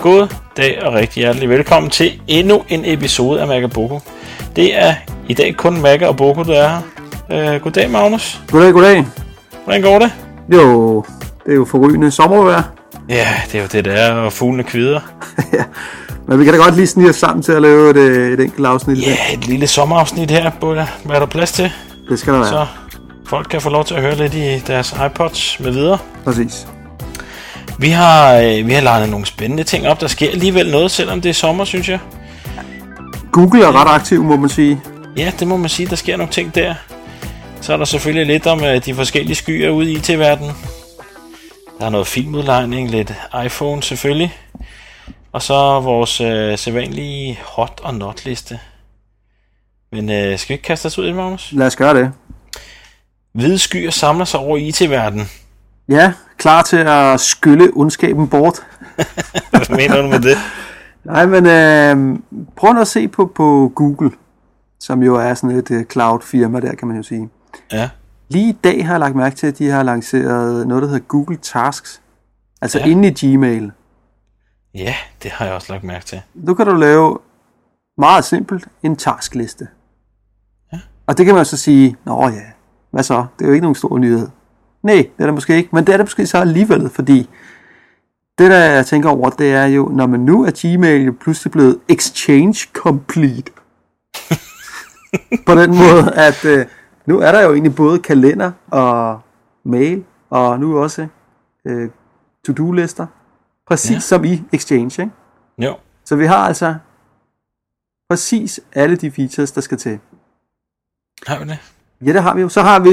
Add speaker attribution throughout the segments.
Speaker 1: God dag og rigtig hjertelig velkommen til endnu en episode af Mac Boko. Det er i dag kun Mac og Boko, der er her. Øh, goddag, Magnus.
Speaker 2: Goddag, goddag.
Speaker 1: Hvordan går det?
Speaker 2: Jo, det er jo forrygende sommervejr.
Speaker 1: Ja, det er jo det, der er, og fuglene kvider.
Speaker 2: ja. Men vi kan da godt lige snige os sammen til at lave et, øh, et enkelt afsnit. i
Speaker 1: Ja,
Speaker 2: dag.
Speaker 1: yeah, et lille sommerafsnit her, Bulla. Hvad er der plads til?
Speaker 2: Det skal der være.
Speaker 1: Så folk kan få lov til at høre lidt i deres iPods med videre.
Speaker 2: Præcis.
Speaker 1: Vi har, øh, vi har legnet nogle spændende ting op. Der sker alligevel noget, selvom det er sommer, synes jeg.
Speaker 2: Google er ret aktiv, må man sige.
Speaker 1: Ja, det må man sige. Der sker nogle ting der. Så er der selvfølgelig lidt om øh, de forskellige skyer ude i IT-verdenen. Der er noget filmudlejning, lidt iPhone selvfølgelig. Og så vores øh, sædvanlige hot og not liste. Men øh, skal vi ikke kaste os ud i det, Magnus?
Speaker 2: Lad os gøre det.
Speaker 1: Hvide skyer samler sig over IT-verdenen.
Speaker 2: Ja, klar til at skylle ondskaben bort.
Speaker 1: Hvad mener du med det?
Speaker 2: Nej, men øh, prøv nu at se på, på Google, som jo er sådan et øh, cloud-firma der, kan man jo sige.
Speaker 1: Ja.
Speaker 2: Lige i dag har jeg lagt mærke til, at de har lanceret noget, der hedder Google Tasks. Altså
Speaker 1: Ja.
Speaker 2: ja. inde i Gmail.
Speaker 1: Ja, det har jeg også lagt mærke til.
Speaker 2: Nu kan du lave meget simpelt en taskliste.
Speaker 1: Ja.
Speaker 2: Og det kan man jo så sige, nå ja, hvad så? Det er jo ikke nogen stor nyhed. Nej, det er det måske ikke, men det er det måske så alligevel, fordi det, der jeg tænker over, det er jo, når man nu er Gmail jo pludselig blevet exchange complete. På den måde, at øh, nu er der jo egentlig både kalender og mail, og nu også øh, to-do-lister, præcis
Speaker 1: Ja.
Speaker 2: ja. som i Exchange, ikke?
Speaker 1: Jo.
Speaker 2: Så vi har altså præcis alle de features, der skal til.
Speaker 1: Har vi det?
Speaker 2: Ja, det har vi jo. Så har vi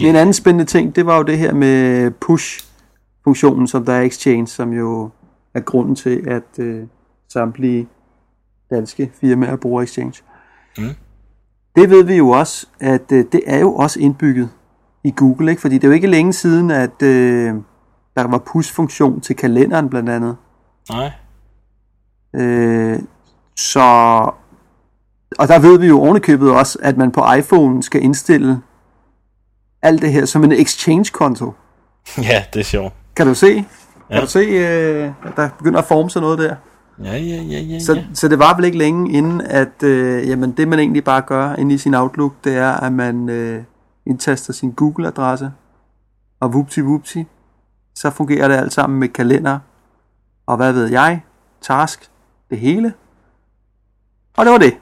Speaker 2: en anden spændende ting, det var jo det her med push-funktionen, som der er i Exchange, som jo er grunden til, at øh, samtlige danske firmaer bruger Exchange.
Speaker 1: Mm.
Speaker 2: Det ved vi jo også, at øh, det er jo også indbygget i Google, ikke? fordi det er jo ikke længe siden, at øh, der var push-funktion til kalenderen blandt andet.
Speaker 1: Nej.
Speaker 2: Øh, så... Og der ved vi jo ovenikøbet også, at man på iPhone skal indstille alt det her som en exchange-konto.
Speaker 1: Ja, det er sjovt.
Speaker 2: Kan du se?
Speaker 1: Ja.
Speaker 2: Kan du se, øh, at der begynder at forme sig noget der?
Speaker 1: Ja, ja, ja, ja,
Speaker 2: Så,
Speaker 1: ja.
Speaker 2: så det var vel ikke længe inden, at øh, jamen, det man egentlig bare gør inde i sin Outlook, det er, at man øh, indtaster sin Google-adresse, og vupti vupti, så fungerer det alt sammen med kalender, og hvad ved jeg, task, det hele. Og det var det.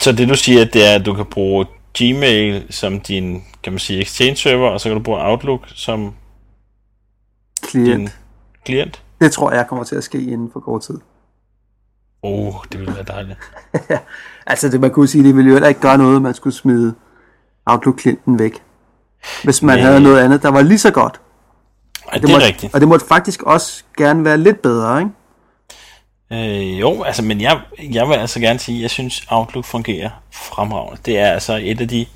Speaker 1: Så det du siger, det er, at du kan bruge Gmail som din, kan man sige, Exchange-server, og så kan du bruge Outlook som
Speaker 2: Klient.
Speaker 1: din klient?
Speaker 2: Det tror jeg kommer til at ske inden for kort tid.
Speaker 1: Åh, oh, det ville være dejligt.
Speaker 2: Altså, det, man kunne sige, det ville jo heller ikke gøre noget, at man skulle smide Outlook-klienten væk. Hvis man
Speaker 1: Nej.
Speaker 2: havde noget andet, der var lige så godt.
Speaker 1: Ej, det, det er
Speaker 2: måtte,
Speaker 1: rigtigt.
Speaker 2: Og det måtte faktisk også gerne være lidt bedre, ikke?
Speaker 1: Øh, jo, altså, men jeg, jeg vil altså gerne sige, at jeg synes, Outlook fungerer fremragende. Det er altså et af de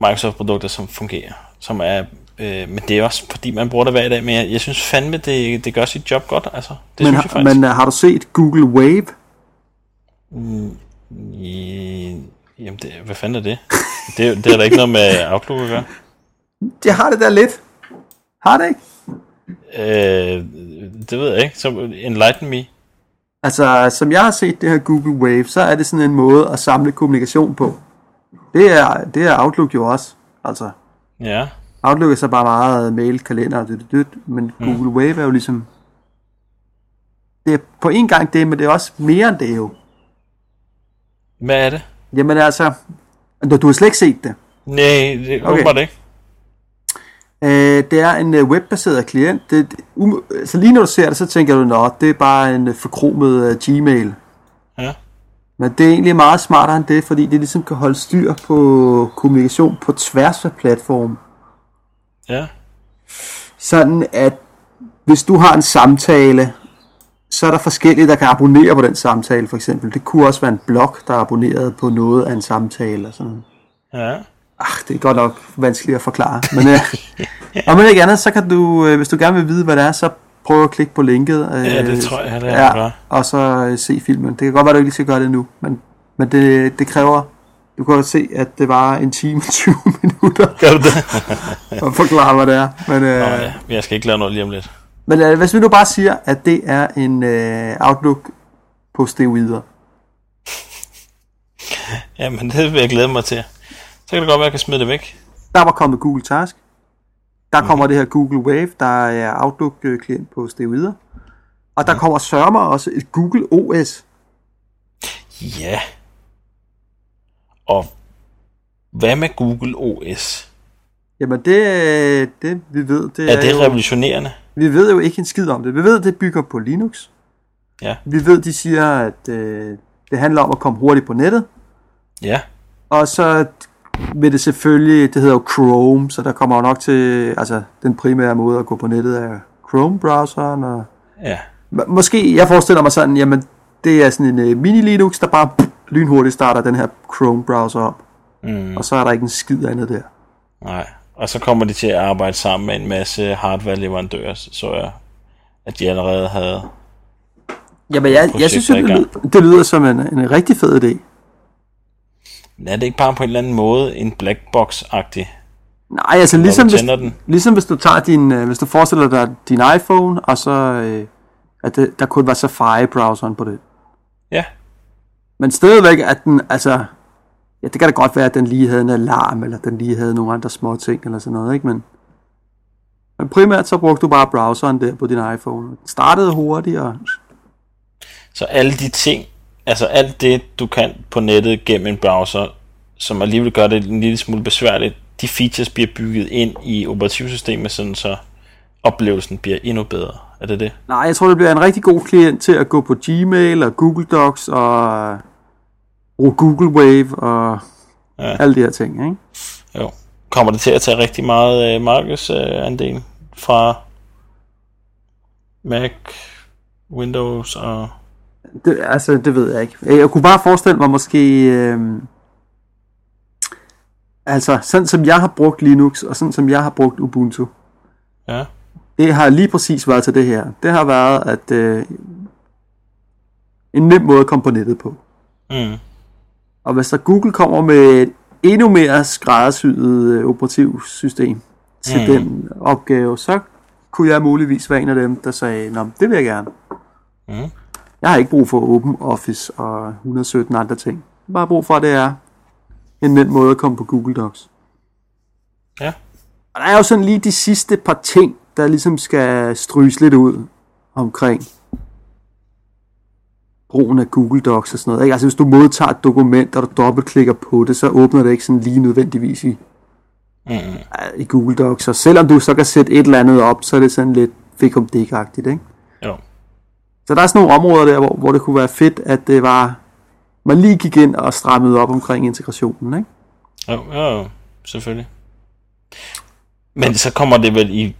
Speaker 1: Microsoft-produkter, som fungerer. Som er, øh, men det er også, fordi man bruger det hver dag. Men jeg, jeg synes fandme, det, det gør sit job godt. Altså, det
Speaker 2: Men,
Speaker 1: synes jeg
Speaker 2: har,
Speaker 1: faktisk.
Speaker 2: men øh, har du set Google Wave?
Speaker 1: I, jamen, det, hvad fanden er det? Det, er jo- det er da ikke noget med Outlook at gøre.
Speaker 2: Det har det der lidt. Har det ikke?
Speaker 1: Øh, det ved jeg ikke. Så enlighten me.
Speaker 2: Altså, som jeg har set det her Google Wave, så er det sådan en måde at samle kommunikation på. Det er, det er Outlook jo også. Altså,
Speaker 1: Ja.
Speaker 2: Outlook er så bare meget mail, kalender og dyt, dyt, men Google Wave er jo ligesom... Det er på en gang det, men det er også mere end det jo.
Speaker 1: Hvad er det?
Speaker 2: Jamen altså, du, du har slet ikke set det.
Speaker 1: Nej, det er
Speaker 2: Okay.
Speaker 1: okay. ikke.
Speaker 2: Øh, det er en øh, webbaseret klient. Det, det- um, så lige når du ser det, så tænker du, at det er bare en øh, forkromet øh, Gmail.
Speaker 1: Ja.
Speaker 2: Men det er egentlig meget smartere end det, fordi det ligesom kan holde styr på kommunikation på tværs af platformen.
Speaker 1: Ja.
Speaker 2: Sådan at hvis du har en samtale, så er der forskellige, der kan abonnere på den samtale for eksempel. Det kunne også være en blog, der abonnerede på noget af en samtale. Og sådan. noget.
Speaker 1: Ja.
Speaker 2: Ach, Ah, det er godt nok vanskeligt at forklare. Men, øh, om ikke andet, så kan du, øh, hvis du gerne vil vide, hvad det er, så prøv at klikke på linket. Øh,
Speaker 1: Ja, det tror jeg heller, jeg
Speaker 2: ja,
Speaker 1: gør.
Speaker 2: Og så øh, se filmen. Det kan godt være, du ikke lige skal gøre det nu, men, men det, det kræver... Du kan godt se, at det var en time og 20 minutter
Speaker 1: Gør du det?
Speaker 2: at forklare, hvad det er. Men, øh,
Speaker 1: Nå, ja. Jeg skal ikke lave noget lige om lidt.
Speaker 2: Men øh, hvis vi nu bare siger, at det er en øh, Outlook på steroider.
Speaker 1: Jamen, det vil jeg glæde mig til. Så kan det godt være, at jeg kan smide det væk.
Speaker 2: Der var kommet Google Task. Der
Speaker 1: Mhm.
Speaker 2: kommer det her Google Wave, der er Outlook-klient på steroider. Og der kommer sørmer også et Google OS.
Speaker 1: Ja. Og hvad med Google OS?
Speaker 2: Jamen det, øh, det vi ved, det
Speaker 1: Er det
Speaker 2: jo-
Speaker 1: revolutionerende?
Speaker 2: Vi ved jo ikke en skid om det. Vi ved, det bygger på Linux.
Speaker 1: Ja.
Speaker 2: Vi ved, de siger, at øh, det handler om at komme hurtigt på nettet.
Speaker 1: Ja.
Speaker 2: Og så vil det selvfølgelig, det hedder jo Chrome, så der kommer jo nok til, altså den primære måde at gå på nettet er Chrome-browseren. Og,
Speaker 1: Ja.
Speaker 2: M- måske, jeg forestiller mig sådan, jamen det er sådan en øh, mini-Linux, der bare pff, lynhurtigt starter den her Chrome-browser op.
Speaker 1: Mm,
Speaker 2: Og så er der ikke en skid andet der.
Speaker 1: nej. Og så kommer de til at arbejde sammen med en masse hardware-leverandører, så jeg, at de allerede havde...
Speaker 2: Jamen jeg, jeg
Speaker 1: Projekter
Speaker 2: synes,
Speaker 1: i
Speaker 2: jo, det,
Speaker 1: gang.
Speaker 2: lyder, det lyder som en, en rigtig fed idé.
Speaker 1: Men Er det ikke bare på en eller anden måde en blackbox-agtig?
Speaker 2: Nej, altså ligesom
Speaker 1: du
Speaker 2: hvis,
Speaker 1: tænder den.
Speaker 2: ligesom hvis du tager din, øh, hvis du forestiller dig din iPhone, og så øh, at det, der kunne være Safari-browseren på det.
Speaker 1: Ja.
Speaker 2: Men stadigvæk, at den, altså, ja, det kan da godt være, at den lige havde en alarm, eller den lige havde nogle andre små ting, eller sådan noget, ikke? Men, men primært så brugte du bare browseren der på din iPhone. Den startede hurtigt, og
Speaker 1: Så alle de ting, altså alt det, du kan på nettet gennem en browser, som alligevel gør det en lille smule besværligt, de features bliver bygget ind i operativsystemet, sådan så oplevelsen bliver endnu bedre. Er det det?
Speaker 2: nej, jeg tror, det bliver en rigtig god klient til at gå på Gmail og Google Docs og øh, bruge Google Wave og
Speaker 1: Ja.
Speaker 2: ja. alle de her ting, ikke?
Speaker 1: Jo. Kommer det til at tage rigtig meget øh, markedsandel øh, fra Mac, Windows og...
Speaker 2: Det, altså, det ved jeg ikke. Jeg kunne bare forestille mig måske... Øh, altså, sådan som jeg har brugt Linux, og sådan som jeg har brugt Ubuntu,
Speaker 1: Ja,
Speaker 2: det har lige præcis været til det her. Det har været, at øh, en nem måde at komme på nettet på.
Speaker 1: mm.
Speaker 2: Og hvis der Google kommer med et endnu mere skræddersyet øh, operativsystem til
Speaker 1: Mm.
Speaker 2: mm. den opgave, så kunne jeg muligvis være en af dem, der sagde, Nå, det vil jeg gerne.
Speaker 1: Mm.
Speaker 2: Jeg har ikke brug for Open Office og 117 andre ting. Jeg har bare brug for, at det er en nem måde at komme på Google Docs.
Speaker 1: ja.
Speaker 2: Og der er jo sådan lige de sidste par ting, der ligesom skal stryges lidt ud omkring brugen af Google Docs og sådan noget. Ikke? Altså hvis du modtager et dokument, og du dobbeltklikker på det, så åbner det ikke sådan lige nødvendigvis i,
Speaker 1: Mm.
Speaker 2: i Google Docs. Og selvom du så kan sætte et eller andet op, så er det sådan lidt fik om det ikke?
Speaker 1: Jo.
Speaker 2: Så der er sådan nogle områder der, hvor, hvor det kunne være fedt, at det var, man lige gik ind og strammede op omkring integrationen, ikke?
Speaker 1: Jo, jo, jo, selvfølgelig. Men så kommer det vel i...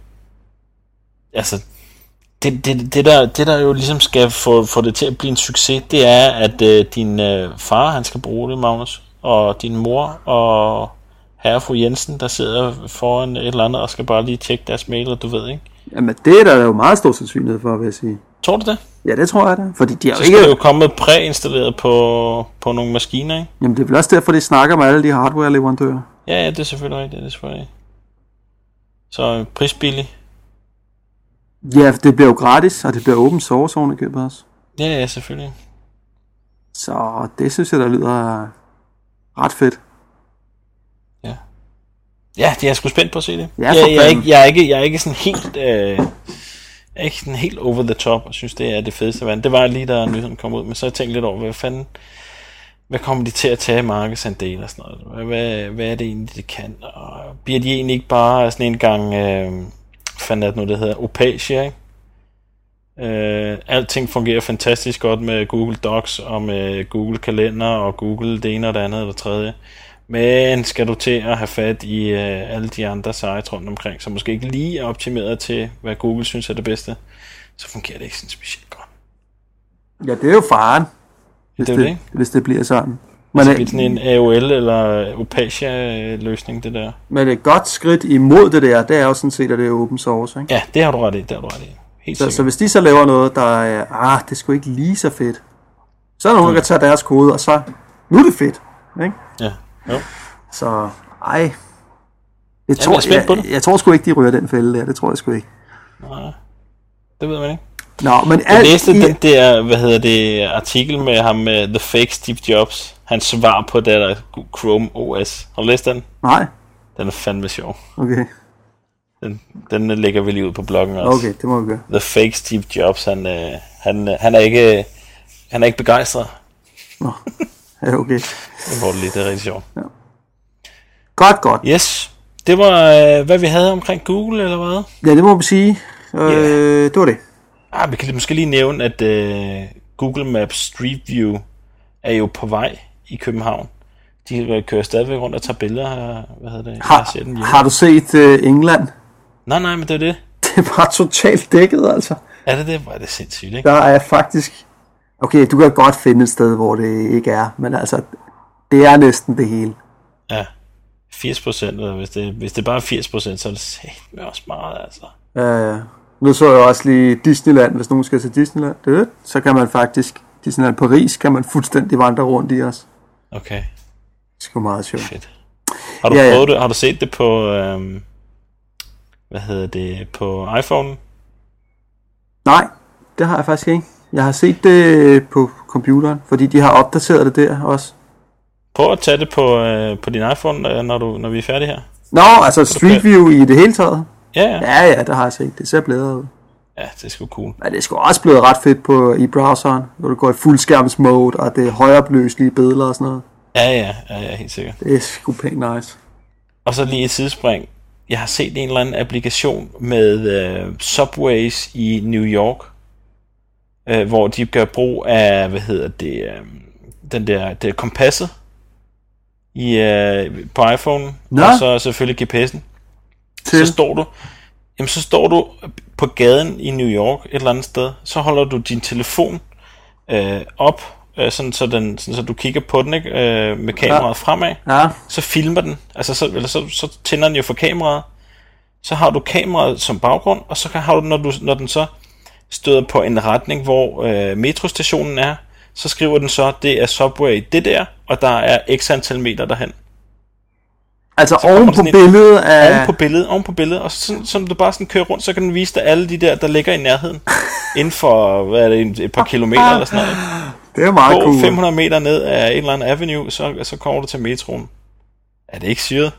Speaker 1: Altså, det, det, det, der, det der jo ligesom skal få, få det til at blive en succes, det er, at øh, din øh, far, han skal bruge det, Magnus, og din mor og herre og fru Jensen, der sidder foran et eller andet og skal bare lige tjekke deres mail, og du ved, ikke?
Speaker 2: Jamen det er der jo meget stor sandsynlighed for, vil jeg sige.
Speaker 1: Tror du det?
Speaker 2: Ja, det tror jeg da. Fordi de har
Speaker 1: Så
Speaker 2: jo
Speaker 1: skal det jo
Speaker 2: ikke...
Speaker 1: komme præinstalleret på, på nogle maskiner, ikke?
Speaker 2: Jamen det er vel også derfor, de snakker med alle de hardware-leverandører.
Speaker 1: Ja, ja, det er selvfølgelig rigtigt, det er selvfølgelig rigtigt. Så øh, prisbilligt.
Speaker 2: Ja, for det bliver jo gratis, og det bliver open source oven i købet også.
Speaker 1: Ja, ja, selvfølgelig.
Speaker 2: Så det synes jeg, der lyder ret fedt.
Speaker 1: Ja, det er jeg sgu spændt på at se det.
Speaker 2: Ja,
Speaker 1: Ja,
Speaker 2: for
Speaker 1: jeg, jeg, er
Speaker 2: fanden.
Speaker 1: ikke, jeg, er ikke, jeg er ikke sådan helt... Øh, jeg er ikke sådan helt over the top og synes, det er det fedeste vand. Det var lige, da nyheden kom ud, men så har jeg tænkt lidt over, hvad fanden... Hvad kommer de til at tage i markedsandel og sådan noget? Hvad, hvad, hvad er det egentlig, det kan? Og bliver de egentlig ikke bare sådan en gang... Øh, fandt jeg nu, det hedder Opacia, ikke? Øh, alting fungerer fantastisk godt med Google Docs og med Google Kalender og Google det ene og det andet og det tredje. Men skal du til at have fat i øh, alle de andre sites rundt omkring, som måske ikke lige er optimeret til, hvad Google synes er det bedste, så fungerer det ikke sådan specielt godt.
Speaker 2: Ja, det er jo faren, hvis
Speaker 1: Det er jo det, ikke? Altså,
Speaker 2: hvis det bliver sådan. Men,
Speaker 1: Men, så
Speaker 2: øh,
Speaker 1: bliver det sådan en AOL eller Opacia-løsning, det der.
Speaker 2: men et godt skridt imod det der, det er jo sådan set, at det er open source, ikke?
Speaker 1: Ja, det har du ret i, det har du ret i. Helt
Speaker 2: Så,
Speaker 1: sikkert.
Speaker 2: så hvis de så laver noget, der er, ah, det er sgu ikke lige så fedt, så er der nogen, der kan tage deres kode, og så, nu er det fedt. Ikke?
Speaker 1: Ja. Jo.
Speaker 2: Så, ej. Jeg
Speaker 1: er
Speaker 2: tror,
Speaker 1: spændt på
Speaker 2: jeg,
Speaker 1: det.
Speaker 2: jeg, tror sgu ikke, de rører den fælde der, det tror jeg sgu ikke.
Speaker 1: Nej. Det ved man ikke.
Speaker 2: Nå, men
Speaker 1: Jeg
Speaker 2: alt
Speaker 1: læste
Speaker 2: i,
Speaker 1: den der, hvad hedder det, artikel med ham med The Fake Steve Jobs. Hans svar på det der Chrome OS. Har du læst den?
Speaker 2: Nej,
Speaker 1: Den er fandme sjov.
Speaker 2: okay.
Speaker 1: Den, den lægger vi lige ud på bloggen også.
Speaker 2: Okay, det må vi gøre.
Speaker 1: The Fake Steve Jobs, han, øh, han, øh, han er ikke... Han er ikke begejstret.
Speaker 2: Nå, ja, okay.
Speaker 1: Det var det lige, det er rigtig sjovt.
Speaker 2: Godt, godt.
Speaker 1: Yes, det var, øh, hvad vi havde omkring Google, eller hvad?
Speaker 2: Ja, det må vi sige. Øh, Det var det.
Speaker 1: Ah, vi kan måske lige nævne, at øh, Google Maps Street View er jo på vej i København. De øh, kører stadigvæk rundt og tager billeder her. Hvad hedder det?
Speaker 2: Har,
Speaker 1: Jeg ser den lige.
Speaker 2: har du set øh, England?
Speaker 1: Nej, nej, men det er det.
Speaker 2: Det er bare totalt dækket, altså.
Speaker 1: Er det det? Hvor er det sindssygt, ikke?
Speaker 2: Der er faktisk... Okay, du kan godt finde et sted, hvor det ikke er, men altså, det er næsten det hele.
Speaker 1: Ja. 80 procent, eller hvis det, hvis det bare er 80 procent, så er det satme også meget, altså.
Speaker 2: Øh, nu så jeg også lige Disneyland, hvis nogen skal til Disneyland. Det, så kan man faktisk, Disneyland Paris, kan man fuldstændig vandre rundt i os.
Speaker 1: Okay,
Speaker 2: Det er sgu meget sjovt.
Speaker 1: fedt. Har du
Speaker 2: Ja, ja.
Speaker 1: prøvet det? Har du set det på, øhm, hvad hedder det, på iPhone?
Speaker 2: Nej, det har jeg faktisk ikke. Jeg har set det øh, på computeren, fordi de har opdateret det der også.
Speaker 1: Prøv at tage det på, øh, på din iPhone, øh, når, du, når vi er færdige her.
Speaker 2: Nå, altså Street View i det hele taget.
Speaker 1: Ja, ja.
Speaker 2: Ja, ja, der har jeg set. Det ser blædret ud.
Speaker 1: Ja, det er sgu cool.
Speaker 2: Men det er sgu også blevet ret fedt på, i browseren, når du går i fuldskærmsmode, og det er højopløselige billeder og sådan noget.
Speaker 1: Ja, ja, ja, ja, helt sikkert.
Speaker 2: Det er sgu pænt nice.
Speaker 1: Og så lige et sidespring. Jeg har set en eller anden applikation med øh, subways i New York, øh, hvor de gør brug af, hvad hedder det, øh, den der det er kompasset i, øh, på iPhone,
Speaker 2: Nå.
Speaker 1: og så selvfølgelig GPS'en.
Speaker 2: Til.
Speaker 1: Så står du, jamen så står du på gaden i New York et eller andet sted, så holder du din telefon øh, op, øh, sådan, så den, sådan så du kigger på den ikke, øh, med kameraet fremad
Speaker 2: Ja,
Speaker 1: så filmer den, altså så, eller så, så tænder den jo for kameraet, så har du kameraet som baggrund, og så kan, har du, når, du, når den så støder på en retning, hvor øh, metrostationen er, så skriver den så, det er Subway det der, og der er x antal meter derhen.
Speaker 2: altså
Speaker 1: kommer
Speaker 2: oven
Speaker 1: der
Speaker 2: på
Speaker 1: sådan et-
Speaker 2: billedet af...
Speaker 1: Oven på billedet, oven på billedet, og så, som du bare sådan kører rundt, så kan den vise dig alle de der, der ligger i nærheden, inden for, hvad er det, en- et par kilometer eller sådan noget.
Speaker 2: Det er meget
Speaker 1: Gå
Speaker 2: cool.
Speaker 1: 500 meter ned af en eller anden avenue, så, så kommer du til metroen. Er det ikke syret?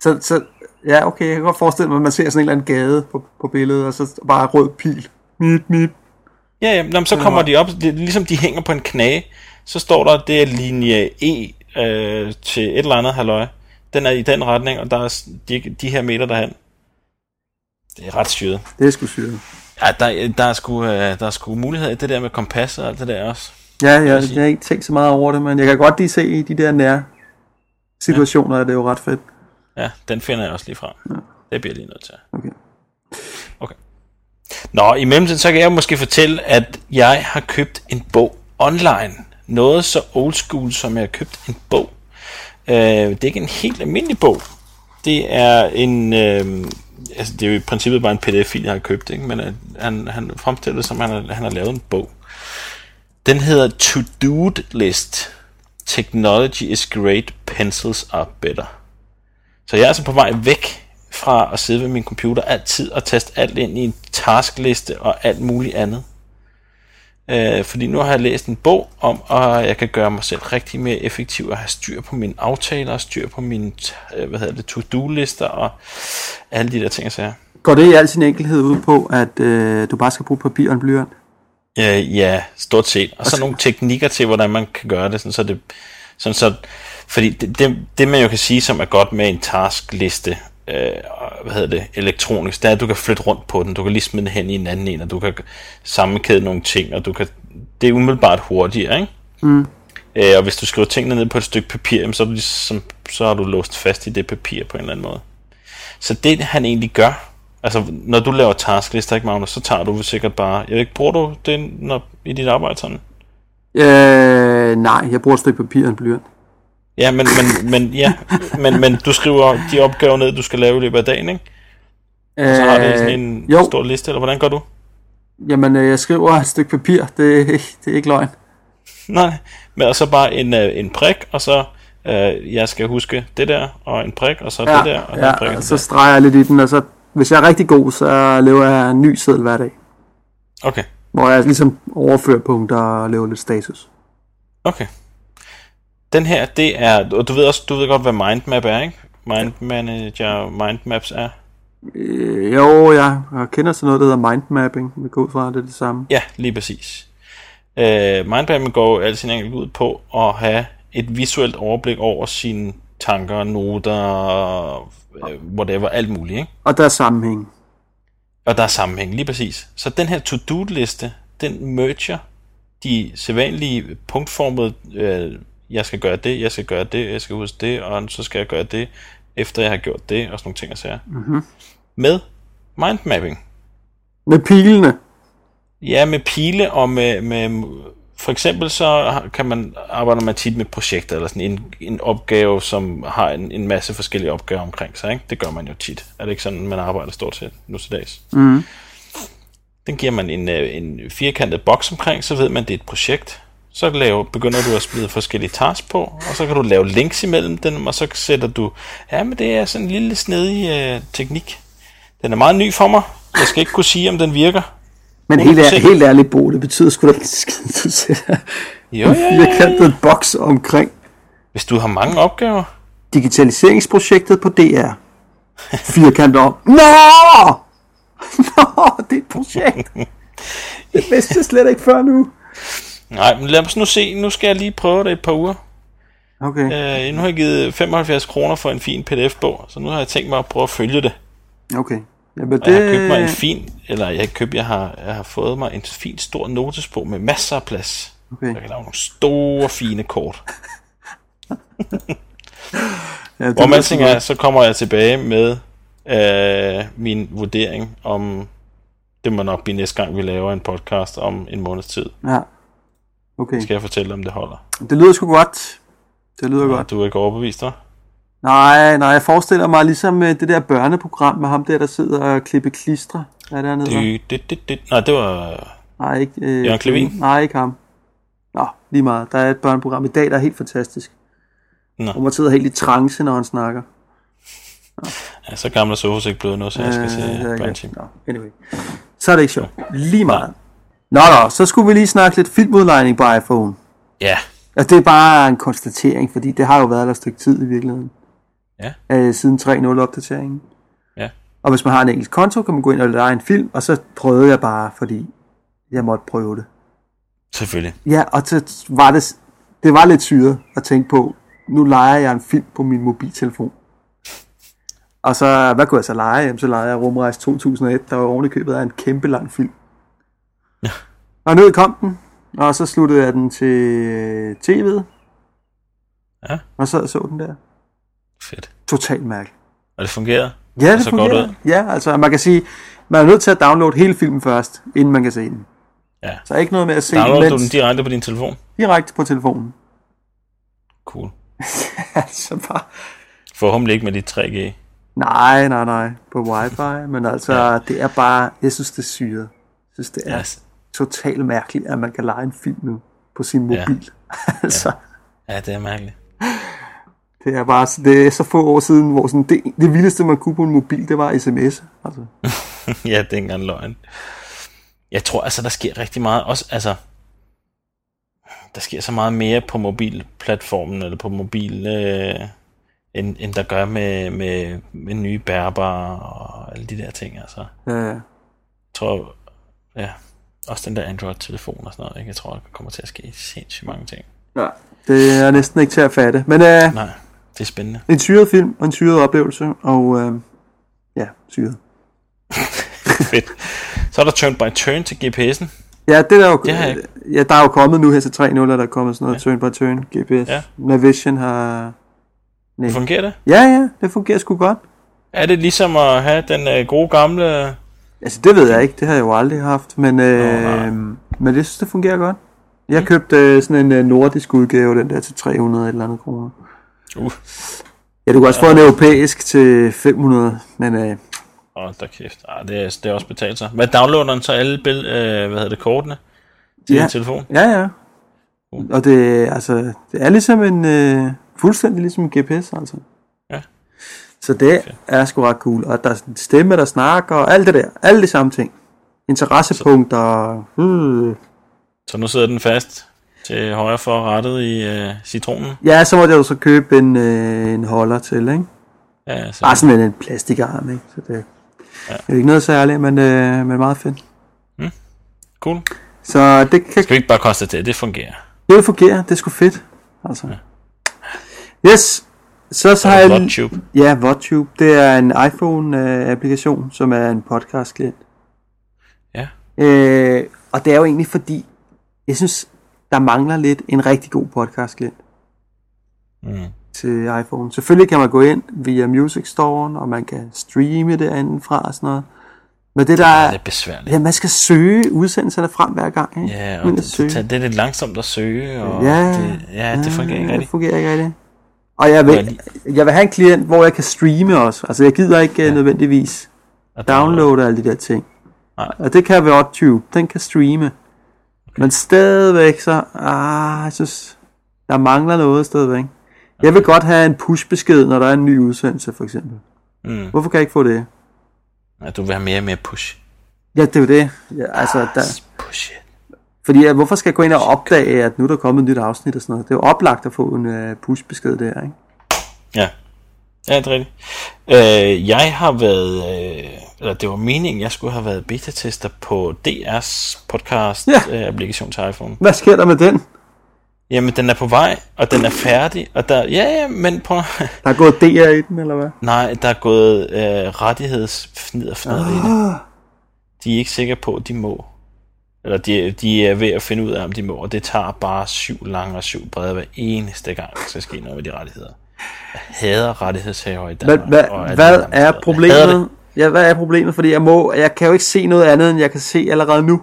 Speaker 2: Så, så, ja, okay, jeg kan godt forestille mig, at man ser sådan en eller anden gade på, på billedet, og så bare rød pil. Mit, mit.
Speaker 1: Ja, ja, nå, men så kommer de op, det, er ligesom de hænger på en knage, så står der, det er linje E øh, til et eller andet halvøje. Den er i den retning, og der er s- de, de her meter derhen. Det er ret syret.
Speaker 2: Det er sgu syret.
Speaker 1: Ja, der, der, er sgu, øh, der er sgu mulighed i det der med kompas og alt det der også.
Speaker 2: Ja, ja, jeg har ikke tænkt så meget over det, men jeg kan godt lige se i de der nære situationer, ja. at det er jo ret fedt.
Speaker 1: Ja, den finder jeg også lige frem. Ja. Det bliver jeg lige nødt til.
Speaker 2: Okay.
Speaker 1: Okay. Nå, i mellemtiden, så kan jeg måske fortælle, at jeg har købt en bog online. Noget så old school, som jeg har købt en bog. Øh, det er ikke en helt almindelig bog. Det er en... Øh, altså, det er jo i princippet bare en pdf-fil, jeg har købt, ikke? men øh, han, han fremstiller det, som han har, han har lavet en bog. Den hedder To Do List. Technology is great, pencils are better. Så jeg er altså på vej væk fra at sidde ved min computer altid og taste alt ind i en taskliste og alt muligt andet. Øh, fordi nu har jeg læst en bog om, at jeg kan gøre mig selv rigtig mere effektiv og have styr på mine aftaler og styr på mine øh, hvad hedder det, to-do-lister og alle de der ting, så jeg.
Speaker 2: Går det i al sin enkelhed ud på, at øh, du bare skal bruge papir og en blyant?
Speaker 1: Øh, ja, stort set. Og så nogle teknikker til, hvordan man kan gøre det, sådan så det... Sådan så, fordi det, det, det, man jo kan sige, som er godt med en taskliste, øh, og hvad hedder det, elektronisk, det er, at du kan flytte rundt på den, du kan lige smide den hen i en anden en, og du kan sammenkæde nogle ting, og du kan, det er umiddelbart hurtigere, ikke? Mm. Øh, og hvis du skriver tingene ned på et stykke papir, jamen, så, er du ligesom, så har du låst fast i det papir på en eller anden måde. Så det han egentlig gør, altså når du laver tasklister, ikke Magnus, så tager du sikkert bare, jeg ved ikke, bruger du det når, i dit arbejde sådan?
Speaker 2: Øh, nej, jeg bruger et stykke papir og en blyant.
Speaker 1: Ja, men, men, men, ja, men, men du skriver de opgaver ned, du skal lave i løbet af dagen, ikke?
Speaker 2: Øh,
Speaker 1: Så har du sådan en
Speaker 2: jo,
Speaker 1: stor liste, eller hvordan gør du?
Speaker 2: jamen øh, jeg skriver et stykke papir, det, det er ikke løgn.
Speaker 1: Nej, men og så bare en, øh, en prik, og så øh, jeg skal huske det der, og en prik, og så det der, og så en prik.
Speaker 2: ja, altså
Speaker 1: og
Speaker 2: og
Speaker 1: så
Speaker 2: så streger jeg lidt i den, og så hvis jeg er rigtig god, så laver jeg en ny seddel hver dag.
Speaker 1: Okay,
Speaker 2: Hvor jeg ligesom overfører punkter og laver lidt status.
Speaker 1: okay. Den her, det er... Og du ved også, du ved godt, hvad mindmap er, ikke? Mind manager, mindmaps er.
Speaker 2: Øh, jo, jeg kender til noget, der hedder mindmapping. Vi går ud fra, at det er det samme.
Speaker 1: Ja, lige præcis. Øh, mindmapping går al sin enkelt ud på at have et visuelt overblik over sine tanker, noter, øh, whatever, alt muligt, ikke?
Speaker 2: Og der er sammenhæng.
Speaker 1: Og der er sammenhæng, lige præcis. Så den her to-do-liste, den merger de sædvanlige punktformede, øh, jeg skal gøre det, jeg skal gøre det, jeg skal huske det, og så skal jeg gøre det, efter jeg har gjort det, og sådan nogle ting og sager. Mm-hmm. Med mindmapping.
Speaker 2: Med pilene.
Speaker 1: Ja, med pile og med, med for eksempel så har- kan man arbejder man tit med projekter eller sådan en, en opgave, som har en, en masse forskellige opgaver omkring sig. Ikke? Det gør man jo tit. Er det ikke sådan, man arbejder stort set nu til dags? Mm. Den giver man en, øh, en firkantet boks omkring, så ved man, det er et projekt. Så laver, begynder du at smide forskellige tasks på, og så kan du lave links imellem dem, og så sætter du... Ja, men det er sådan en lille snedig øh, teknik. Den er meget ny for mig. Jeg skal ikke kunne sige, om den virker.
Speaker 2: Men helt, ær-
Speaker 1: 100%.
Speaker 2: helt ærligt, Bo, det betyder sgu da ikke en skid, du sætter
Speaker 1: Jo,
Speaker 2: en
Speaker 1: ja, ja, ja.
Speaker 2: firkantet boks omkring
Speaker 1: Hvis du har mange opgaver,
Speaker 2: digitaliseringsprojektet på DR. Firkantet om. Nå! Nå, det er et projekt. Det vidste jeg slet ikke før nu.
Speaker 1: Nej, men lad os nu se. Nu skal jeg lige prøve det et par uger.
Speaker 2: Okay,
Speaker 1: Øh, nu har jeg givet 75 kroner for en fin PDF-bog, så nu har jeg tænkt mig at prøve at følge det.
Speaker 2: okay. Jamen,
Speaker 1: Og Øh. jeg har købt mig en
Speaker 2: det...
Speaker 1: fin, eller jeg har købt, jeg har, jeg har fået mig en fin stor notesbog med masser af plads.
Speaker 2: Okay.
Speaker 1: Jeg kan lave nogle store, fine kort.
Speaker 2: Ja, det
Speaker 1: Hvor man
Speaker 2: lyder
Speaker 1: tænker,
Speaker 2: godt.
Speaker 1: jeg, så kommer jeg tilbage med øh, min vurdering om, det må nok blive næste gang, vi laver en podcast om en måneds tid.
Speaker 2: Ja. Okay,
Speaker 1: Skal jeg fortælle, om det holder?
Speaker 2: det lyder sgu godt. Det lyder godt.
Speaker 1: Du er ikke overbevist, hva'?
Speaker 2: Nej, nej, jeg forestiller mig ligesom øh, det der børneprogram med ham der, der sidder og klipper klistre. Hvad er det, han hedder?
Speaker 1: Du, det, det, det. Nej, det var...
Speaker 2: Nej, ikke... Øh,
Speaker 1: Jørgen Clevin?
Speaker 2: Nej, ikke ham. Nå, lige meget. Der er et børneprogram i dag, der er helt fantastisk.
Speaker 1: Nå.
Speaker 2: Hvor man sidder helt i trance, når han snakker.
Speaker 1: Ja, så gammel er Sofus ikke blevet nu, så jeg skal øh, se
Speaker 2: det ved jeg
Speaker 1: Banshee.
Speaker 2: ikke. Nå, anyway. Så er det ikke sjovt. Lige meget. Nå, nå, så skulle vi lige snakke lidt filmudlejning på iPhone.
Speaker 1: Ja.
Speaker 2: Altså, det er bare en konstatering, fordi det har jo været der et stykke tid i virkeligheden.
Speaker 1: Ja.
Speaker 2: Øh, siden 3.0-opdateringen.
Speaker 1: Ja.
Speaker 2: Og hvis man har en enkelt konto, kan man gå ind og lege en film, og så prøvede jeg bare, fordi jeg måtte prøve det.
Speaker 1: Selvfølgelig.
Speaker 2: Ja, og så var det, det var lidt syret at tænke på, nu leger jeg en film på min mobiltelefon. Og så, hvad kunne jeg så lege? Jamen, så legede jeg Rumrejse 2001, der var ovenikøbet af en kæmpe lang film.
Speaker 1: Ja.
Speaker 2: Og ned kom den, og så sluttede jeg den til øh, tv'et,
Speaker 1: Ja,
Speaker 2: og så så den der.
Speaker 1: fedt.
Speaker 2: Totalt mærkeligt.
Speaker 1: Og det fungerer?
Speaker 2: Ja,
Speaker 1: Og
Speaker 2: det
Speaker 1: så går
Speaker 2: fungerer.
Speaker 1: det ud.
Speaker 2: Ja, altså man kan sige, man er nødt til at downloade hele filmen først, inden man kan se den.
Speaker 1: Ja.
Speaker 2: Så ikke noget med at se
Speaker 1: Downloader
Speaker 2: den,
Speaker 1: du
Speaker 2: mens,
Speaker 1: den direkte på din telefon?
Speaker 2: direkte på telefonen.
Speaker 1: Cool.
Speaker 2: altså bare,
Speaker 1: Forhåbentlig ikke med dit 3G.
Speaker 2: nej, nej, nej, på wifi, men altså ja. det er bare, jeg synes det er syret. Jeg synes det er
Speaker 1: Ja.
Speaker 2: yes. totalt mærkeligt, at man kan lege en film nu på sin
Speaker 1: Ja.
Speaker 2: mobil. altså,
Speaker 1: ja, det er mærkeligt.
Speaker 2: det er bare, det er så få år siden, hvor sådan, det, det vildeste man kunne på en mobil, det var sms. Altså,
Speaker 1: ja, det er ikke engang løgn. Jeg tror altså, der sker rigtig meget. Også, altså, der sker så meget mere på mobilplatformen, eller på mobil, øh, end, end der gør med, med, med nye bærbare og alle de der ting. Altså.
Speaker 2: øh,
Speaker 1: Jeg tror, ja, også den der Android-telefon og sådan noget, ikke? jeg tror, der kommer til at ske sindssygt mange ting.
Speaker 2: ja. Det er næsten ikke til at fatte. Men øh,
Speaker 1: Nej, det er spændende.
Speaker 2: En syret film og en syret oplevelse, og øh, ja, syret.
Speaker 1: Fedt. Så er der turn by turn til GPS'en.
Speaker 2: Ja, det er der jo,
Speaker 1: Det har jeg ikke.
Speaker 2: ja, der er jo kommet nu her til 3.0, og der er kommet sådan noget ja. turn by turn, GPS.
Speaker 1: Ja.
Speaker 2: Ja. Navision har...
Speaker 1: Fungerer det?
Speaker 2: Ja, ja, det fungerer sgu godt.
Speaker 1: Er det ligesom at have den øh, gode gamle...
Speaker 2: Altså, det ved jeg ikke, det har jeg jo aldrig haft, men, øh,
Speaker 1: nej.
Speaker 2: men jeg synes, det fungerer godt. Jeg købte øh, sådan en øh, nordisk udgave, den der til 300 et eller andet kroner.
Speaker 1: Uh,
Speaker 2: Ja, du kan også få en europæisk til 500, men øh,
Speaker 1: åh, der kæft. Ej, det, er, det er også betalt sig. Hvad downloader den så alle bill, øh, hvad hedder det, kortene? Til
Speaker 2: Ja.
Speaker 1: din telefon?
Speaker 2: Ja, ja.
Speaker 1: Uh.
Speaker 2: Og det, altså, det er ligesom en... Øh, fuldstændig ligesom en GPS, altså.
Speaker 1: Ja.
Speaker 2: Så det er sgu ret cool. Og der er sådan en stemme, der snakker, og alt det der. Alle de samme ting. Interessepunkter. Hmm.
Speaker 1: Så nu sidder den fast til højre for rettet i øh, citronen.
Speaker 2: Ja, så måtte jeg jo så købe en, øh, en holder til, ikke?
Speaker 1: Ja, så
Speaker 2: Bare sådan en, en plastikarm, ikke? Så det ja. er jo ikke noget særligt, men, øh, men meget fedt.
Speaker 1: cool.
Speaker 2: Så det kan
Speaker 1: Skal vi ikke bare konstatere, at det fungerer?
Speaker 2: det fungerer. Det er sgu fedt. Altså. Yes. Så, så har
Speaker 1: Og
Speaker 2: jeg...
Speaker 1: Bloodtube.
Speaker 2: Ja, VodTube. Det er en iPhone-applikation, øh, som er en podcast-klient.
Speaker 1: Ja.
Speaker 2: Øh, og det er jo egentlig fordi, jeg synes, der mangler lidt en rigtig god podcast-klient
Speaker 1: Mm.
Speaker 2: til iPhone. Selvfølgelig kan man gå ind via Music Store, og man kan streame det andenfra og sådan noget. Men det der
Speaker 1: Det er
Speaker 2: er,
Speaker 1: lidt besværligt.
Speaker 2: ja, man skal søge udsendelserne frem hver gang. Ikke?
Speaker 1: Ja, og
Speaker 2: Man kan
Speaker 1: det, det, tager- det er lidt langsomt at søge, og
Speaker 2: Ja.
Speaker 1: det, ja, det fungerer ikke
Speaker 2: Ja, Det
Speaker 1: rigtigt.
Speaker 2: fungerer ikke rigtigt. Og jeg
Speaker 1: Jeg
Speaker 2: vil, jeg vil have en klient, hvor jeg kan streame også. Altså, jeg gider ikke ja. nødvendigvis
Speaker 1: Og
Speaker 2: downloade alle de der ting.
Speaker 1: Nej.
Speaker 2: Og det kan være Tube. Den kan streame. Okay. Men stadigvæk så... Ah, jeg synes, der mangler noget stadigvæk. Jeg vil godt have en push-besked, når der er en ny udsendelse, for eksempel.
Speaker 1: Mm.
Speaker 2: Hvorfor kan jeg ikke få det?
Speaker 1: Ja, du vil have mere og mere push.
Speaker 2: Ja, det er jo det. Ja, altså,
Speaker 1: Ah,
Speaker 2: der,
Speaker 1: Push it.
Speaker 2: fordi ja, hvorfor skal jeg gå ind og opdage, at nu er der kommet et nyt afsnit og sådan noget? Det er jo oplagt at få en uh, push-besked der, ikke?
Speaker 1: Ja. Ja, det er rigtigt. Øh, jeg har været, øh, eller det var meningen, jeg skulle have været beta-tester på DR's
Speaker 2: Ja.
Speaker 1: podcast-applikation øh, til iPhone.
Speaker 2: Hvad sker der med den?
Speaker 1: Jamen, den er på vej, og den er færdig, og der, ja, ja, men på,
Speaker 2: Der er gået DR i den, eller hvad?
Speaker 1: nej, der er gået øh, rettighedsfnid og fnad i
Speaker 2: Ah.
Speaker 1: det. De er ikke sikre på, at de må. Eller de, de er ved at finde ud af, om de må, og det tager bare syv lange og syv brede hver eneste gang, der skal ske noget med de rettigheder. Jeg hader rettighedshaver i
Speaker 2: Hvad,
Speaker 1: Danmark.
Speaker 2: hvad,
Speaker 1: og alt
Speaker 2: hvad
Speaker 1: muligt andet
Speaker 2: er
Speaker 1: sted. Jeg hader det.
Speaker 2: problemet? Ja, hvad er problemet? Fordi jeg, må, jeg kan jo ikke se noget andet, end jeg kan se allerede nu.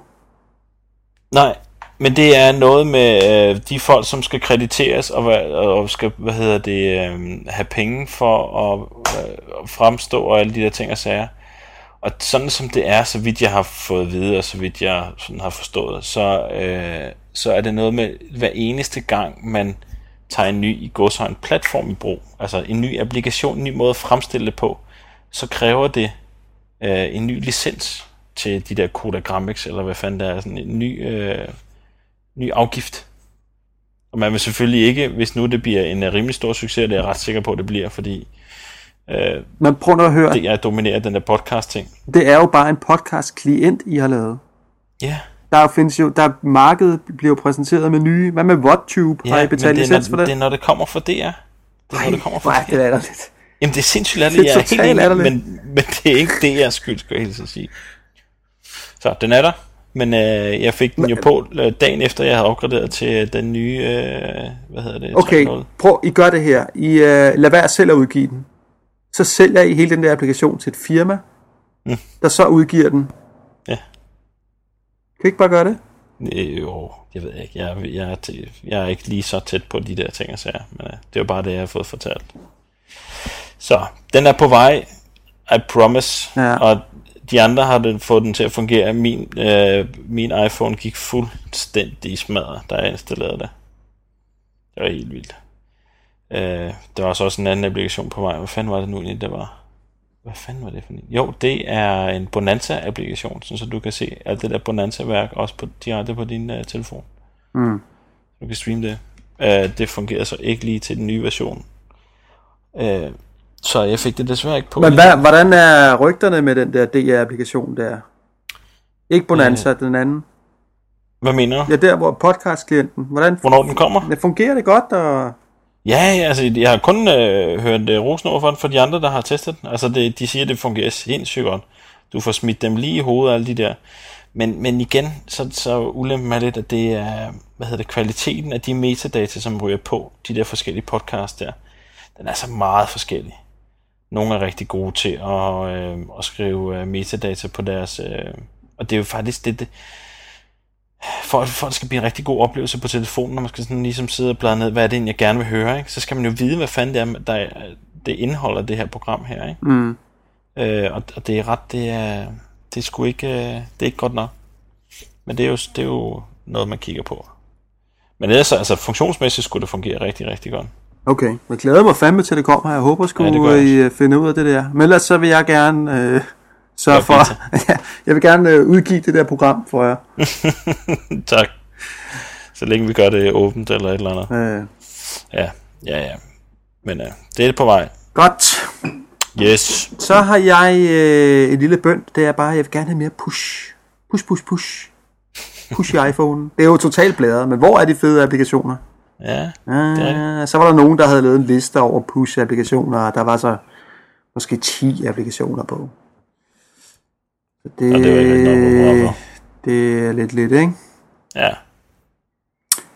Speaker 1: Nej, men det er noget med øh, de folk, som skal krediteres og, hva- og skal, hvad hedder det, øh, have penge for at øh, fremstå og alle de der ting og sager. Og sådan som det er, så vidt jeg har fået at vide, og så vidt jeg sådan har forstået, så, øh, så er det noget med hver eneste gang, man tager en ny i en platform i brug, altså en ny applikation, en ny måde at fremstille det på, så kræver det øh, en ny licens til de der Kodagrammex, eller hvad fanden der er, sådan en ny, øh, ny afgift. Og man vil selvfølgelig ikke, hvis nu det bliver en øh, rimelig stor succes, og det er jeg ret sikker på, at det bliver, fordi øh,
Speaker 2: Men prøv nu at høre, det,
Speaker 1: det er dominerer den der podcast-ting.
Speaker 2: det er jo bare en podcast-klient, I har lavet.
Speaker 1: Ja,
Speaker 2: Der findes jo, der markedet bliver præsenteret med nye. Hvad med WhatTube? Ja, har I
Speaker 1: ja men det
Speaker 2: betalt
Speaker 1: er,
Speaker 2: licens for
Speaker 1: når, det er,
Speaker 2: det?
Speaker 1: når det kommer fra DR. Det er, når det kommer fra
Speaker 2: Nej,
Speaker 1: DR.
Speaker 2: det er lidt.
Speaker 1: Jamen, det er sindssygt latterligt,
Speaker 2: Det
Speaker 1: jeg er
Speaker 2: er
Speaker 1: helt
Speaker 2: totalt
Speaker 1: enig,
Speaker 2: latterligt.
Speaker 1: men, men det er ikke det, jeg skyld, skal jeg helt sige. Så den er der, men øh, jeg fik den jo på øh, dagen efter, jeg havde opgraderet til den nye, øh, hvad hedder det,
Speaker 2: Okay,
Speaker 1: 3.0.
Speaker 2: prøv, I gør det her. I øh, lader være selv at udgive den. Så sælger I hele den der applikation til et firma,
Speaker 1: Mm.
Speaker 2: der så udgiver den.
Speaker 1: Ja.
Speaker 2: Kan I ikke bare gøre det?
Speaker 1: Øh, jo, jeg ved ikke, jeg, jeg, er til, jeg er ikke lige så tæt på de der ting og sager, men øh, det er jo bare det, jeg har fået fortalt. Så, den er på vej, I promise,
Speaker 2: Ja.
Speaker 1: og de andre har den, fået den til at fungere. Min, øh, min iPhone gik fuldstændig i smadret, da jeg installerede det. Det var helt vildt. Øh, der var så også en anden applikation på vej. Hvad fanden var det nu egentlig, der var? Hvad fanden var det for en? Jo, det er en Bonanza-applikation, sådan så du kan se alt det der Bonanza-værk også på, direkte på din uh, telefon.
Speaker 2: Mm.
Speaker 1: Du kan streame det. Uh, det fungerede så ikke lige til den nye version. Uh, så jeg fik det desværre ikke på.
Speaker 2: Men hvad, hvordan er rygterne med den der DR-applikation der? Ikke Bonanza, øh. den anden.
Speaker 1: Hvad mener du?
Speaker 2: Ja, der hvor podcastklienten. Hvordan
Speaker 1: Hvornår den kommer?
Speaker 2: det fungerer det godt? Og...
Speaker 1: Ja, ja, altså, jeg har kun øh, hørt øh, rosen over for den, for de andre, der har testet den. Altså, det, de siger, at det fungerer sindssygt godt. Du får smidt dem lige i hovedet, alle de der. Men, men igen, så, så ulempen er lidt, at det er, hvad hedder det, kvaliteten af de metadata, som ryger på de der forskellige podcasts der, den er så meget forskellig. Nogle er rigtig gode til at, øh, at skrive øh, metadata på deres... Øh, og det er jo faktisk det, det, for at folk skal blive en rigtig god oplevelse på telefonen, når man skal sådan ligesom sidde og bladre ned, hvad er det egentlig, jeg gerne vil høre, ikke? så skal man jo vide, hvad fanden det er, der, det indeholder det her program her. Ikke?
Speaker 2: Mm.
Speaker 1: Øh, og, og, det er ret, det er, det er sgu ikke, øh, det er ikke godt nok. Men det er, jo, det er jo noget, man kigger på. Men ellers, altså, funktionsmæssigt skulle det fungere rigtig, rigtig godt.
Speaker 2: Okay, jeg glæder mig fandme til, det kommer. Jeg håber sgu,
Speaker 1: Ja, det gør
Speaker 2: ja,
Speaker 1: jeg
Speaker 2: I øh, finder ud af det der. Men ellers så vil jeg gerne øh, sørge
Speaker 1: Ja,
Speaker 2: for... ja, jeg vil gerne øh, udgive det der program for jer.
Speaker 1: tak. Så længe vi gør det åbent eller et eller andet.
Speaker 2: Øh,
Speaker 1: Ja, ja, ja. Men øh, det er på vej.
Speaker 2: godt.
Speaker 1: Yes.
Speaker 2: Så har jeg øh, en lille bønd, det er bare, jeg vil gerne have mere push. Push, push, push. Push i iPhone. Det er jo totalt bladret, men hvor er de fede applikationer?
Speaker 1: Ja, er
Speaker 2: Ah, så var der nogen, der havde lavet en liste over push-applikationer, og der var så måske 10 applikationer på. Så det,
Speaker 1: Ja, det er jo ikke noget, man bruger for.
Speaker 2: det er lidt lidt, ikke?
Speaker 1: ja.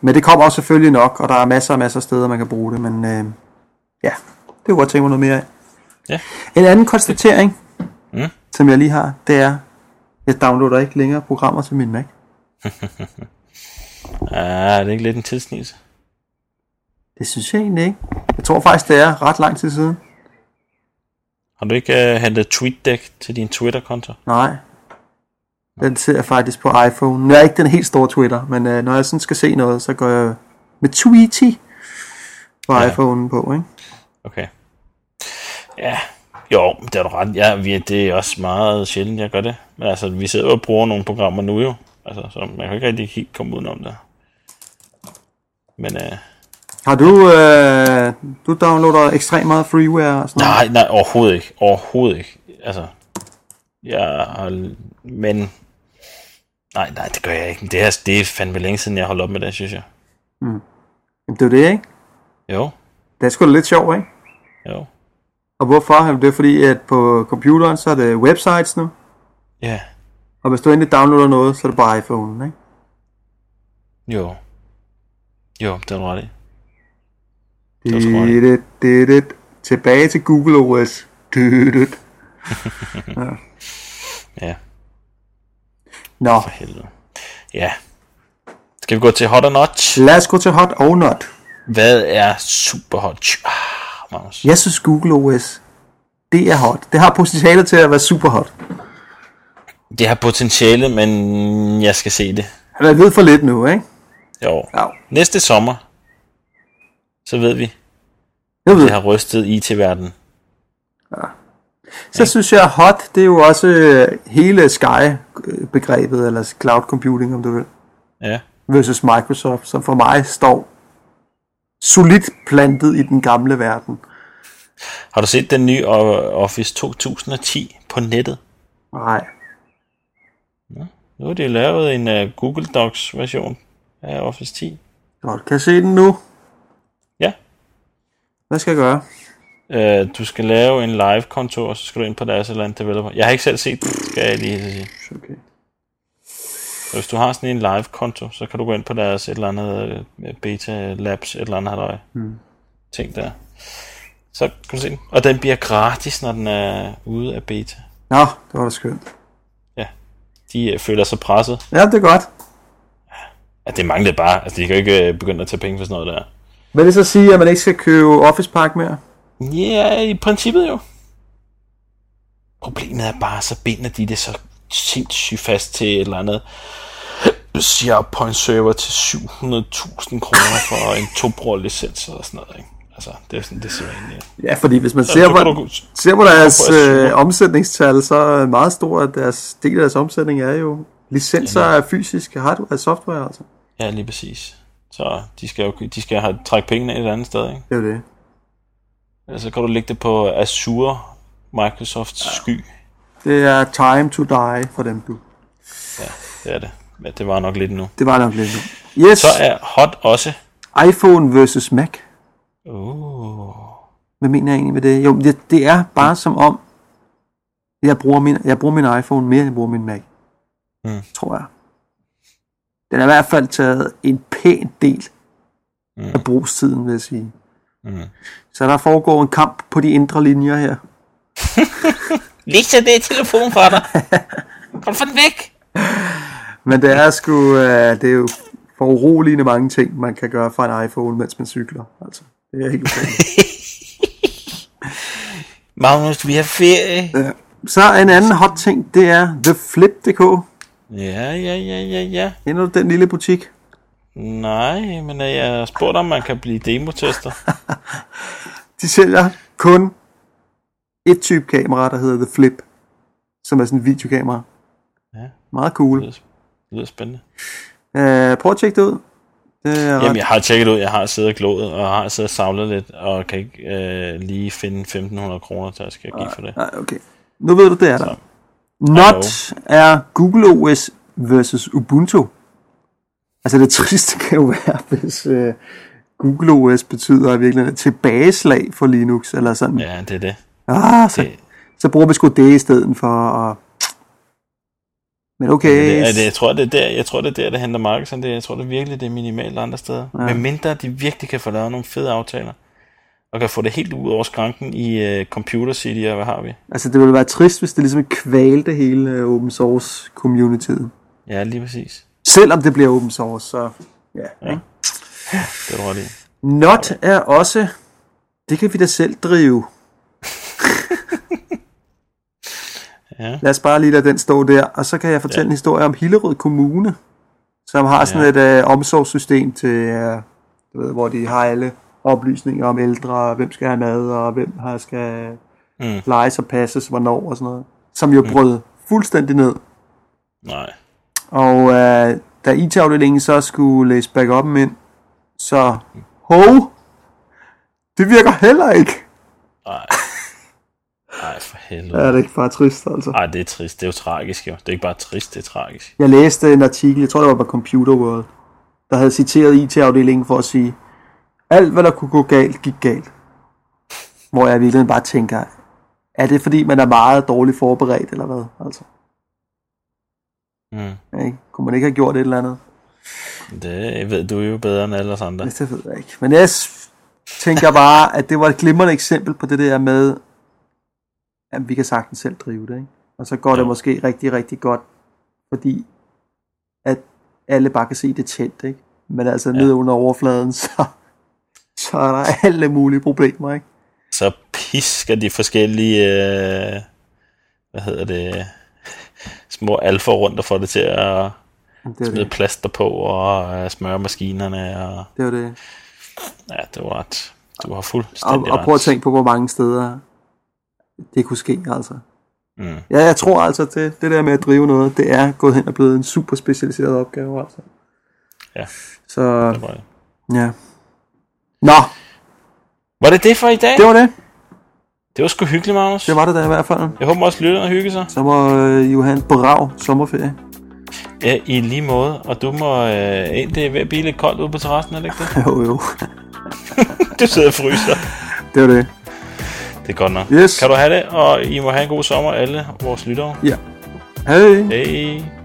Speaker 2: Men det kommer også selvfølgelig nok, og der er masser og masser af steder, man kan bruge det, men øh, ja, det kunne jeg godt tænke mig noget mere af.
Speaker 1: Ja.
Speaker 2: En anden konstatering,
Speaker 1: Mm.
Speaker 2: som jeg lige har, det er, jeg downloader ikke længere programmer til min Mac.
Speaker 1: Ah, er det ikke lidt en tilsnit?
Speaker 2: Det synes jeg egentlig ikke. Jeg tror faktisk, det er ret lang tid siden.
Speaker 1: Har du ikke uh, hentet TweetDeck til din Twitter-konto?
Speaker 2: Nej. Den ser jeg faktisk på iPhone. Nu er jeg ikke den helt store Twitter, men øh, når jeg sådan skal se noget, så går jeg med Tweety på ja.
Speaker 1: Ja.
Speaker 2: iPhone på, ikke?
Speaker 1: Okay. Ja, jo, det er du ret. Ja, vi, det er også meget sjældent, jeg gør det. Men altså, vi sidder jo og bruger nogle programmer nu jo. Altså, så man kan ikke rigtig helt komme udenom det. Men øh,
Speaker 2: Har du, øh, du downloader ekstremt meget freeware og sådan noget?
Speaker 1: nej, nej, overhovedet ikke. Overhovedet ikke. Altså, jeg har... Men... Nej, nej, det gør jeg ikke. Det, her, det er fandme længe siden, jeg holdt op med det, synes jeg.
Speaker 2: Jamen, det er jo det, ikke?
Speaker 1: Jo,
Speaker 2: Det er sgu da lidt sjovt, ikke?
Speaker 1: jo.
Speaker 2: Og hvorfor? Jamen, det er fordi, at på computeren, så er det websites nu.
Speaker 1: Ja,
Speaker 2: Og hvis du endelig downloader noget, så er det bare iPhone, ikke?
Speaker 1: jo. Jo, det er du ret i. Det tror jeg.
Speaker 2: Det, det, det, Tilbage til Google OS. Dydet.
Speaker 1: Ja.
Speaker 2: Nå,
Speaker 1: For helvede. Ja. Skal vi gå til hot or not?
Speaker 2: lad os gå til hot og not.
Speaker 1: Hvad er super hot? Ah, Magnus.
Speaker 2: Jeg synes Google OS, det er hot. Det har potentiale til at være super hot.
Speaker 1: Det har potentiale, men jeg skal se det.
Speaker 2: Han er ved for lidt nu, ikke?
Speaker 1: Jo.
Speaker 2: Ja.
Speaker 1: Næste sommer, så ved vi,
Speaker 2: Jeg ved.
Speaker 1: det har rystet IT-verdenen.
Speaker 2: Så synes jeg, hot, det er jo også øh, hele Sky-begrebet, eller cloud computing, om du vil,
Speaker 1: Ja.
Speaker 2: versus Microsoft, som for mig står solidt plantet i den gamle verden.
Speaker 1: Har du set den nye O- Office 2010 på nettet?
Speaker 2: Nej.
Speaker 1: Nu har de lavet en uh, Google Docs-version af Office 10.
Speaker 2: Godt, kan jeg se den nu?
Speaker 1: Ja.
Speaker 2: Hvad skal jeg gøre?
Speaker 1: Uh, du skal lave en live-konto, og så skal du ind på deres eller andet developer. Jeg har ikke selv set det, skal jeg lige så sige.
Speaker 2: Okay.
Speaker 1: Og Hvis du har sådan en live-konto, så kan du gå ind på deres et eller andet øh, beta labs, et eller andet halløj. Mm. Ting der. Så kan du se den. Og den bliver gratis, når den er ude af beta.
Speaker 2: Nå, det var da skønt.
Speaker 1: De øh, føler sig presset.
Speaker 2: Ja, det er godt.
Speaker 1: At det mangler bare. Altså, de kan jo ikke øh, begynde at tage penge for sådan noget der.
Speaker 2: Vil det så sige, at man ikke skal købe Office Park mere?
Speaker 1: Ja, i princippet jo. Problemet er bare, så binder de det så sindssygt fast til et eller andet SharePoint server til 700.000 kroner for en to licens eller sådan noget, ikke? Altså, det er sådan, det ser egentlig.
Speaker 2: Ja, fordi hvis man
Speaker 1: Så
Speaker 2: ser,
Speaker 1: kan
Speaker 2: hvor,
Speaker 1: du-
Speaker 2: ser på deres
Speaker 1: Hvorfor er
Speaker 2: øh, omsætningstal, så er meget stor at deres, del af deres omsætning er jo licenser af fysisk hardware og software. Altså.
Speaker 1: Ja, lige præcis. Så de skal jo de skal have trække pengene et andet sted, ikke?
Speaker 2: Det er jo det.
Speaker 1: Ellers så kan du lægge det på Azure, Microsofts sky.
Speaker 2: Det er time to die for dem, du.
Speaker 1: Ja, det er det. Men det var nok lidt nu.
Speaker 2: Det var nok lidt nu. Yes,
Speaker 1: Så er hot også.
Speaker 2: iPhone versus Mac.
Speaker 1: Uh.
Speaker 2: Hvad mener jeg egentlig med det? Jo, det, det er bare som om, jeg bruger, min, jeg bruger min iPhone mere, end jeg bruger min Mac.
Speaker 1: Mm.
Speaker 2: Tror jeg. Den er i hvert fald taget en pæn del
Speaker 1: Mm.
Speaker 2: af brugstiden, vil jeg sige.
Speaker 1: Mm.
Speaker 2: Så der foregår en kamp på de indre linjer her.
Speaker 1: Læg så det telefon fra dig. Kom for den væk.
Speaker 2: Men det er sgu, øh, det er jo for uroligende mange ting, man kan gøre fra en iPhone, mens man cykler. Altså, det er helt utroligt.
Speaker 1: Magnus, vi har ferie.
Speaker 2: Ja. Øh, Så en anden hot ting, det er TheFlip.dk.
Speaker 1: Ja, ja, ja, ja, ja.
Speaker 2: Kender du den lille butik?
Speaker 1: Nej, men øh, jeg har spurgt, om man kan blive demotester.
Speaker 2: De sælger kun et type kamera, der hedder The Flip, som er sådan en videokamera.
Speaker 1: Ja.
Speaker 2: Meget cool.
Speaker 1: Det lyder, det lyder spændende.
Speaker 2: Øh, prøv at tjekke det ud. Det er ret-
Speaker 1: Jamen, jeg har tjekket ud, jeg har siddet og glået, og har siddet og savlet lidt, og kan ikke øh, lige finde 1.500 kroner, der skal jeg give for det.
Speaker 2: Nej, okay. Nu ved du, det er der.
Speaker 1: Så.
Speaker 2: Not er Google OS versus Ubuntu. Altså det triste kan jo være, hvis øh, Google OS betyder i virkeligheden et tilbageslag for Linux, eller sådan. Ja.
Speaker 1: Ja, det er det.
Speaker 2: Ah, så,
Speaker 1: Det-
Speaker 2: så bruger vi sgu det i stedet for. Og... Men okay,
Speaker 1: Men Det, er det, jeg, tror, det er der, jeg tror, det er der, det henter markedsandel. Jeg tror det er virkelig, det er minimalt andre steder.
Speaker 2: Ja.
Speaker 1: Ja. Men mindre de virkelig kan få lavet nogle fede aftaler, og kan få det helt ud over skranken i uh, Computer City, og hvad har vi?
Speaker 2: altså det ville være trist, hvis det ligesom kvalte hele øh, open source communityet.
Speaker 1: Ja, lige præcis.
Speaker 2: Selvom det bliver open source, så ja.
Speaker 1: Ja. Det er du ret i.
Speaker 2: Not er også, det kan vi da selv drive.
Speaker 1: Ja.
Speaker 2: Lad os bare lige lade den stå der, og så kan jeg fortælle ja. en historie om Hillerød Kommune, som har sådan et øh, omsorgssystem til, øh, du ved, hvor de har alle oplysninger om ældre, og hvem skal have mad, og hvem har skal
Speaker 1: Mm.
Speaker 2: plejes og passes, hvornår og sådan noget, som jo brød fuldstændig ned.
Speaker 1: Nej.
Speaker 2: Og øh, da IT-afdelingen så skulle læse backup'en ind, så hov, det virker heller ikke.
Speaker 1: Nej. Nej, for helvede.
Speaker 2: Ja, det er ikke bare trist, altså.
Speaker 1: Nej, det er trist. Det er jo tragisk, jo. Det er ikke bare trist, det er tragisk.
Speaker 2: Jeg læste en artikel, jeg tror det var på Computer World, der havde citeret IT-afdelingen for at sige, alt hvad der kunne gå galt, gik galt. Hvor jeg i virkeligheden bare tænker, er det fordi man er meget dårligt forberedt, eller hvad? Altså,
Speaker 1: Mm.
Speaker 2: ikke? Kunne man ikke have gjort et eller andet?
Speaker 1: Det ved du jo bedre end alle os andre.
Speaker 2: Ja. Det ved jeg ikke. Men jeg s- tænker bare, at det var et glimrende eksempel på det der med, at vi kan sagtens selv drive det. Ikke? Og så går ja. det
Speaker 1: Jo.
Speaker 2: måske rigtig, rigtig godt, fordi at alle bare kan se det tændt. Ikke? Men altså ja. ned under overfladen, så, så er der alle mulige problemer. Ikke?
Speaker 1: så pisker de forskellige, øh, hvad hedder det, små alfa rundt og får det til at
Speaker 2: Men Det er
Speaker 1: smide
Speaker 2: det.
Speaker 1: plaster på og øh, smøre maskinerne. Og,
Speaker 2: det, er det.
Speaker 1: ja, det var ret. Du har
Speaker 2: Og,
Speaker 1: fuldstændig
Speaker 2: og prøv at
Speaker 1: ret.
Speaker 2: tænke på, hvor mange steder det kunne ske. Altså.
Speaker 1: Mm.
Speaker 2: Ja, jeg tror altså, at det, det der med at drive noget, det er gået hen og blevet en super specialiseret opgave. Altså.
Speaker 1: Ja.
Speaker 2: Så
Speaker 1: det var det.
Speaker 2: Ja. Nå,
Speaker 1: Var det det for i dag?
Speaker 2: det var det.
Speaker 1: Det var sgu hyggeligt, Magnus.
Speaker 2: Det var det da i hvert fald.
Speaker 1: Jeg håber også, lytterne hygger sig.
Speaker 2: Så må øh, Johan brav sommerferie.
Speaker 1: Ja, i lige måde. Og du må øh, ind, det er ved at blive lidt koldt ude på terrassen, er det ikke det?
Speaker 2: Jo, jo.
Speaker 1: Du sidder og fryser.
Speaker 2: Det var det.
Speaker 1: Det er godt nok.
Speaker 2: Yes.
Speaker 1: Kan du have det, og I må have en god sommer, alle vores lyttere.
Speaker 2: Hej.
Speaker 1: Hej.